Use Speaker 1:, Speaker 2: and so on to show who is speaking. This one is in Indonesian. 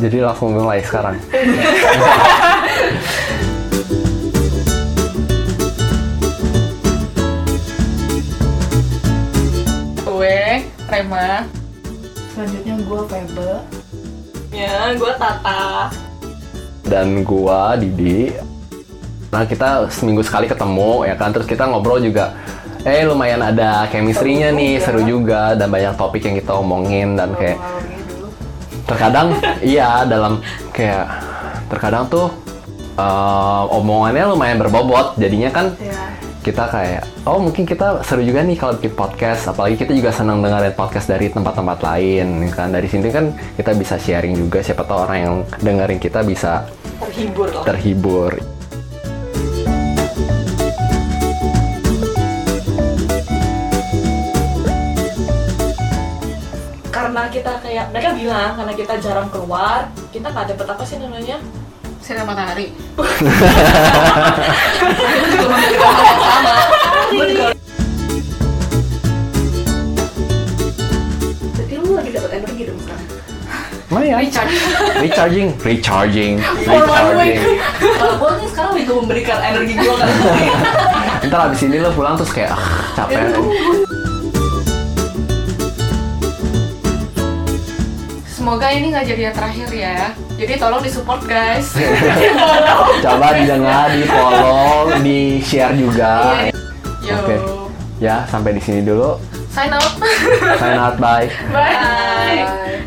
Speaker 1: Jadi langsung mulai sekarang.
Speaker 2: Gue Rema.
Speaker 3: Selanjutnya gue Febe.
Speaker 4: Ya, gue Tata.
Speaker 1: Dan gua Didi. Nah kita seminggu sekali ketemu ya kan, terus kita ngobrol juga. Eh lumayan ada chemistry-nya nih, seru juga dan banyak topik yang kita omongin dan kayak
Speaker 3: Awalnya dulu.
Speaker 1: terkadang iya dalam kayak terkadang tuh eh, omongannya lumayan berbobot jadinya kan
Speaker 3: Ya.
Speaker 1: kita kayak oh mungkin kita seru juga nih kalau bikin podcast apalagi kita juga senang dengerin podcast dari tempat-tempat lain kan dari sini kan kita bisa sharing juga siapa tahu orang yang dengerin kita bisa
Speaker 4: Terhibur lah.
Speaker 1: terhibur
Speaker 4: Karena kita kayak, mereka bilang karena kita jarang keluar, kita nggak dapet apa sih namanya?
Speaker 2: Sinar matahari.
Speaker 4: Gua juga-
Speaker 3: Jadi lu lagi dapat energi dong sekarang.
Speaker 1: lumayan
Speaker 2: Richard.
Speaker 1: ya? recharging recharging
Speaker 2: For one
Speaker 1: recharging
Speaker 4: Kalau gue nih sekarang itu memberikan energi gue kan.
Speaker 1: ntar abis ini lo pulang terus kayak ah, capek
Speaker 2: Semoga ini nggak jadi yang terakhir ya. Jadi tolong disupport guys.
Speaker 1: coba didengar di follow di share
Speaker 2: Iya.
Speaker 1: juga
Speaker 2: Yo.
Speaker 1: Oke. ya sampai di sini dulu
Speaker 2: Sign out.
Speaker 1: sign out bye
Speaker 2: Bye.
Speaker 3: Bye.